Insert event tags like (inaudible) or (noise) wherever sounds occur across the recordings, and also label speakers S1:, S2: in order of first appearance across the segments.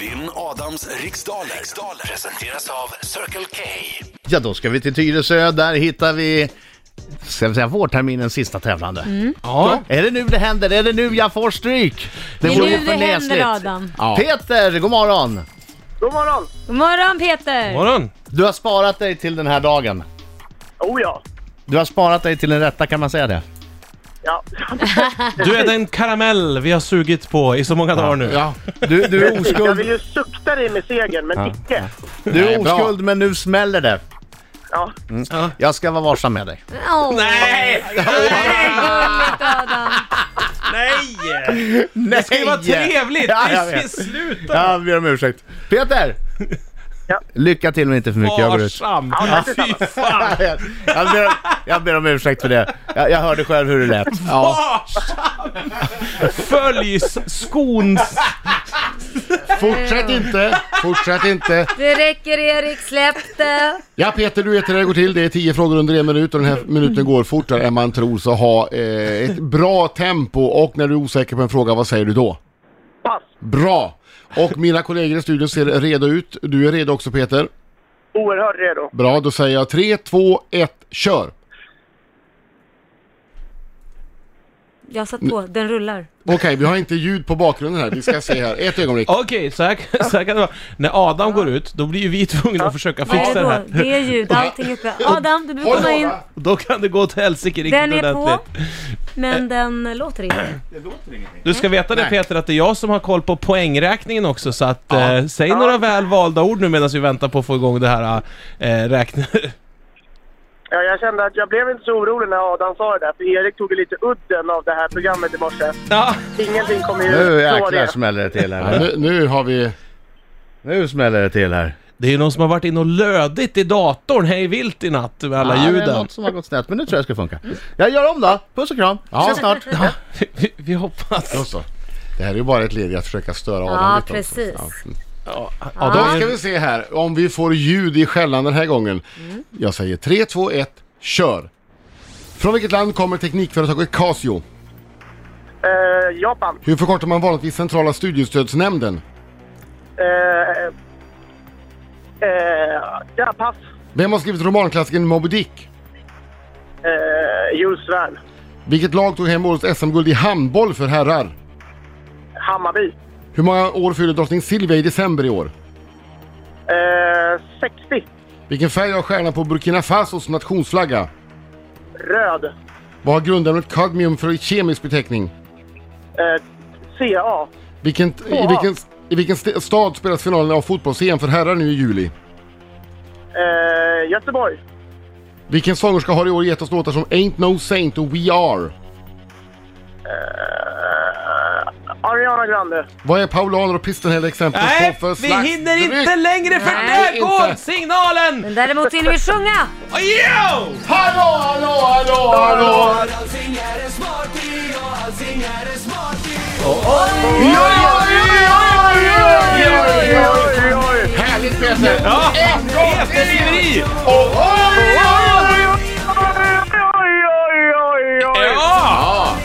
S1: Vinn Adams riksdaler. riksdaler presenteras av Circle K.
S2: Ja, då ska vi till Tyresö. Där hittar vi Ska vi säga vårterminens sista tävlande?
S3: Mm.
S4: Ja.
S2: Är det nu det händer? Är det nu jag får stryk?
S3: Det är
S2: vore
S3: nu
S2: ju
S3: det händer
S2: förnäsligt.
S3: Adam.
S4: ja.
S2: Peter, god morgon!
S5: God morgon!
S3: God morgon Peter!
S4: Morgon!
S2: Du har sparat dig till den här dagen.
S5: Oh ja!
S2: Du har sparat dig till den rätta, kan man säga det?
S5: Ja,
S4: Du är den karamell vi har sugit på i så många dagar nu.
S6: Ja,
S2: Du, du är
S5: jag
S2: oskuld,
S5: vill ju sukta dig med segern, men icke.
S2: du är
S6: Nej, bra.
S2: oskuld men nu smäller det.
S5: Ja.
S2: Jag ska vara varsam med dig.
S3: Åh,
S4: Nej!
S3: gulligt Adam!
S4: Nej!
S2: Nej! Det
S4: Det var trevligt!
S2: Ja, jag
S4: det är
S2: vet.
S4: sluta!
S2: Ja, vi ber om ursäkt. Peter!
S5: Ja.
S2: Lycka till men inte för mycket, jag går ut.
S4: Varsam!
S5: Ja,
S4: Fy fan!
S2: Jag ber, jag ber om ursäkt för det. Jag, jag hörde själv hur det lät.
S4: Varsam! Följ s- skons...
S6: (laughs) fortsätt inte, fortsätt inte.
S3: Det räcker Erik, släpp det!
S6: Ja Peter, du vet hur det går till. Det är tio frågor under en minut och den här minuten går fortare än man tror. Så ha eh, ett bra tempo och när du är osäker på en fråga, vad säger du då?
S5: Pass!
S6: Bra! Och mina kollegor i studion ser redo ut. Du är redo också Peter.
S5: Oerhört redo.
S6: Bra, då säger jag 3, 2, 1, kör!
S3: Jag satt på, den rullar.
S6: Okej, vi har inte ljud på bakgrunden här. Vi ska se här. Ett ögonblick.
S4: Okej, så, här, så här kan det vara. När Adam går ut, då blir ju vi tvungna att försöka
S3: Vad är
S4: fixa
S3: det
S4: det
S3: då?
S4: här.
S3: Det är ljud, allting är uppe. Adam, du behöver komma in.
S4: Då kan det gå åt helsike riktigt
S3: Den är på,
S4: ordentligt. Eh.
S3: men den låter inte.
S4: Du ska veta det
S6: Nej.
S4: Peter, att det är jag som har koll på poängräkningen också, så att eh, säg några välvalda ord nu medan vi väntar på att få igång det här eh, räkn...
S5: Ja, jag kände att jag blev inte så orolig när Adam sa det där, för Erik tog ju lite udden av det här programmet i morse.
S4: ja.
S5: Ingenting kommer ju
S2: Nu
S5: slå
S2: jäklar
S5: det.
S2: smäller det till
S6: Ja,
S2: här.
S6: nu, nu har vi...
S2: Nu smäller det till här.
S4: Det är ju någon som har varit inne och lödigt i datorn hej vilt i natt med alla
S2: Ja, Det är
S4: ljuden.
S2: något som har gått snett, men nu tror jag det ska funka. Jag gör om då. Puss och kram.
S6: Ja.
S2: Ses snart.
S4: (laughs) Vi, vi hoppas.
S6: Då så. Det här är ju bara ett led i att försöka störa Adam
S3: Ja,
S6: lite också.
S3: precis.
S6: Ja.
S4: Ja,
S6: Då ska vi se här om vi får ljud i skällan den här gången.
S3: Mm.
S6: Jag säger 3, 2, 1, kör! Från vilket land kommer teknikföretaget Casio?
S5: Eh, Japan.
S6: Hur förkortar man vanligtvis Centrala studiestödsnämnden?
S5: Eh, eh, ja, pass.
S6: Vem har skrivit romanklassikern Moby Dick?
S5: Eh, Jules Svärd.
S6: Vilket lag tog hem årets SM-guld i handboll för herrar?
S5: Hammarby.
S6: Hur många år fyller drottning Silvia i december i år?
S5: Eh, 60.
S6: Vilken färg har stjärnan på Burkina Fasos nationsflagga?
S5: Röd.
S6: Vad har grundämnet kadmium för kemisk beteckning?
S5: Eh, CA.
S6: Vilken, I vilken, i vilken st- stad spelas finalen av fotbolls-EM för herrar nu i juli?
S5: Eh, Göteborg.
S6: Vilken sångerska har i år gett oss låtar som Ain't No Saint och We Are?
S5: Ariana Grande.
S6: Vad är Paulaner och Pistonhead exempel
S4: Nej,
S6: på för
S4: vi hinner inte
S6: dryck?
S4: längre för
S3: Nej,
S4: där går
S6: inte.
S4: signalen!
S3: Men däremot hinner vi sjunga!
S4: Oh, yo!
S6: Hallå, hallå, hallå, hallå! Härligt Peter!
S4: Ja, Peter river i! Ja!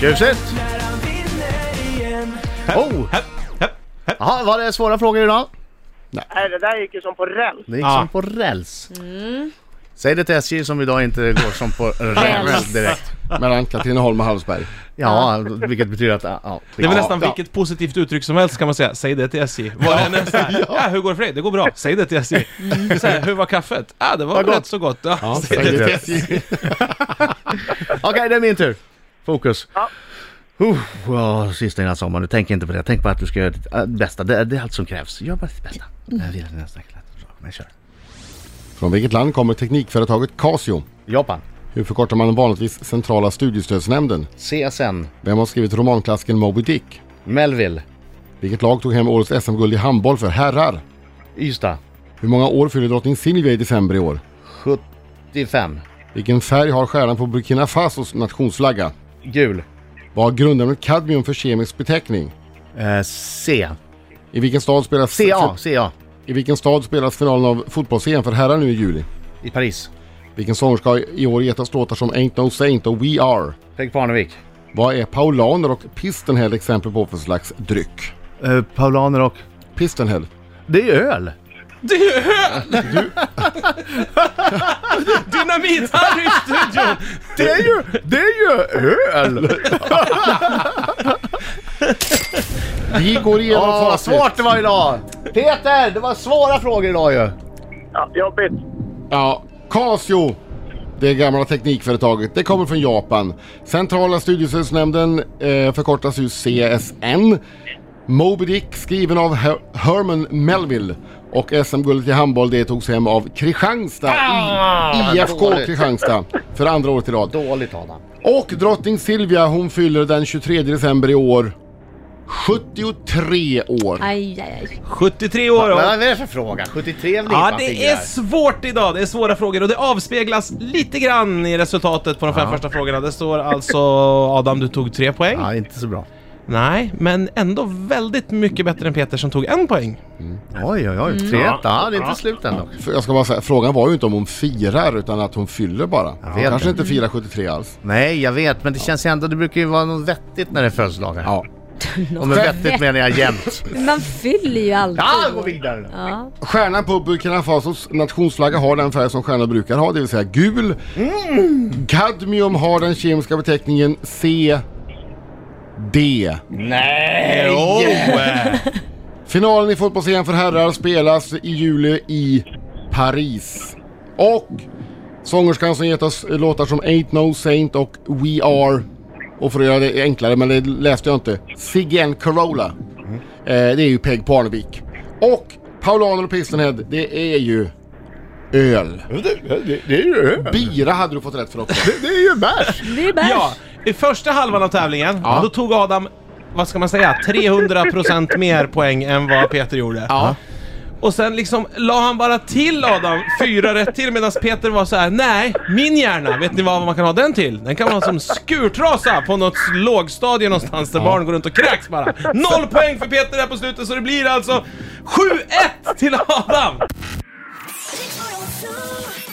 S2: Tjusigt. Oh! Jaha, var det svåra frågor idag?
S5: Nej, Äh, det där gick ju som på räls.
S2: Det gick
S4: Ja.
S2: som på räls. Mm. Säg det till SJ som idag inte går som (laughs) på räls direkt.
S6: Mellan Katrineholm och Hallsberg.
S2: Ja, vilket betyder att... Ja,
S4: Det är väl
S2: ja.
S4: nästan vilket positivt uttryck som helst kan man säga. Säg det till SJ. Vad är nästa? Ja, hur går det för dig? Det går bra. Säg det till SJ.
S2: Mm.
S4: Så här, hur var kaffet? Ja, det var
S2: Vad
S4: rätt
S2: gott.
S4: så gott. Ja.
S6: Säg det till SJ.
S2: Okej, det är min tur. Fokus.
S5: Ja.
S2: Uh, ja, sista innan sommaren. Tänk inte på det. Tänk på att du ska göra ditt äh, bästa. Det, det är allt som krävs. Gör bara ditt bästa. Jag vill att nästa klass. Bra, Men kör.
S6: Från vilket land kommer teknikföretaget Casio?
S2: Japan.
S6: Hur förkortar man vanligtvis Centrala studiestödsnämnden?
S2: CSN.
S6: Vem har skrivit romanklassikern Moby Dick?
S2: Melville.
S6: Vilket lag tog hem årets SM-guld i handboll för herrar?
S2: Ystad.
S6: Hur många år fyller drottning Silvia i december i år?
S2: 75.
S6: Vilken färg har stjärnan på Burkina Fasos nationsflagga?
S2: Gul.
S6: Vad har grundämnet kadmium för kemisk beteckning?
S2: Eh, C.
S6: I vilken stad spelas,
S2: CA. CA.
S6: I vilken stad spelas finalen av fotbolls-EM för herrar nu i juli?
S2: I Paris.
S6: Vilken sångerska har i år gett oss låtar som Ain't No Saint och We Are?
S2: Peg Parnevik.
S6: Vad är paulaner och Pistonhead exempel på för slags dryck?
S2: Eh, Paulaner och...
S6: Pistenhäll?
S2: Det är öl.
S4: Det är ju öl! (laughs) Dynamit-Harry i studion!
S2: Det är ju, det är ju öl!
S6: Vi går igenom
S2: Ja, vad
S6: facit.
S2: svårt det var idag! Peter, det var svåra frågor idag ju.
S5: Ja, jobbigt.
S6: Ja, Casio. Det gamla teknikföretaget. Det kommer från Japan. Centrala studiestödsnämnden eh, förkortas ju CSN. Moby Dick skriven av Her- Herman Melville. Och SM-guldet i handboll det togs hem av Kristianstad. I- IFK
S2: Ah, dåligt.
S6: Kristianstad. För andra året i rad.
S2: Dåligt Adam.
S6: Och drottning Silvia hon fyller den 23 december i år 73 år.
S7: Aj, aj, aj.
S4: 73 år
S2: Men
S4: och...
S2: vad är det för fråga? 73 är väl
S4: Ja,
S2: inget man
S4: det
S2: fingrar?
S4: är svårt idag. Det är svåra frågor och det avspeglas lite grann i resultatet på de fem första frågorna. Det står alltså... Adam, du tog tre poäng.
S2: Ja, inte så bra.
S4: Nej, men ändå väldigt mycket bättre än Peter som tog en poäng.
S2: Oj, oj, oj. 3-1. Ja, det är inte slut ändå.
S6: För jag ska bara säga, frågan var ju inte om hon firar utan att hon fyller bara. Hon
S2: vet
S6: kanske
S2: det.
S6: inte firar 73 alls.
S2: Nej, jag vet, men det känns ju ändå... Det brukar ju vara något vettigt när det är födelsedagar.
S6: Ja.
S2: Och med vettigt menar jag jämt.
S7: Man fyller ju alltid.
S2: Ja, gå vidare nu.
S7: Ja.
S6: Stjärnan på Burkina Fasos nationsflagga har den färg som stjärnor brukar ha, det vill säga gul.
S2: Mm.
S6: Kadmium har den kemiska beteckningen CD.
S4: Jo!
S6: Finalen i fotbolls för herrar spelas i juli i Paris. Och sångerskan som gett oss låtar som Ain't No Saint och We Are och för att göra det enklare, men det läste jag inte, Siggen Corolla.
S2: Mm.
S6: Eh, det är ju Peg Parnevik. Och Paulaner och Pistenhead, det är ju öl.
S2: Det, det är ju öl.
S6: Bira hade du fått rätt för också.
S2: Det är ju bärs.
S7: Det är bärs.
S4: Ja, i första halvan av tävlingen, då tog Adam, vad ska man säga, 300% mer poäng än vad Peter gjorde.
S6: Ja.
S4: Och sen liksom la han bara till Adam fyra rätt till medan Peter var så här: nej, min hjärna, vet ni vad man kan ha den till? Den kan man ha som skurtrasa på något lågstadie någonstans där barn går runt och kräks bara. Noll poäng för Peter där på slutet så det blir alltså 7-1 till Adam!
S8: Rick 102.